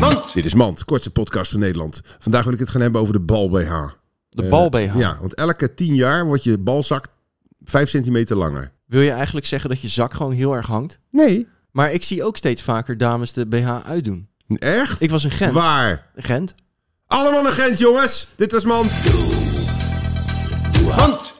Mand. Dit is Mand, kortste podcast van Nederland. Vandaag wil ik het gaan hebben over de bal-BH. De Eh, bal BH. Ja, want elke tien jaar wordt je balzak vijf centimeter langer. Wil je eigenlijk zeggen dat je zak gewoon heel erg hangt? Nee. Maar ik zie ook steeds vaker dames de BH uitdoen. Echt? Ik was in Gent. Waar? Gent? Allemaal een Gent, jongens. Dit was Mand. Mand.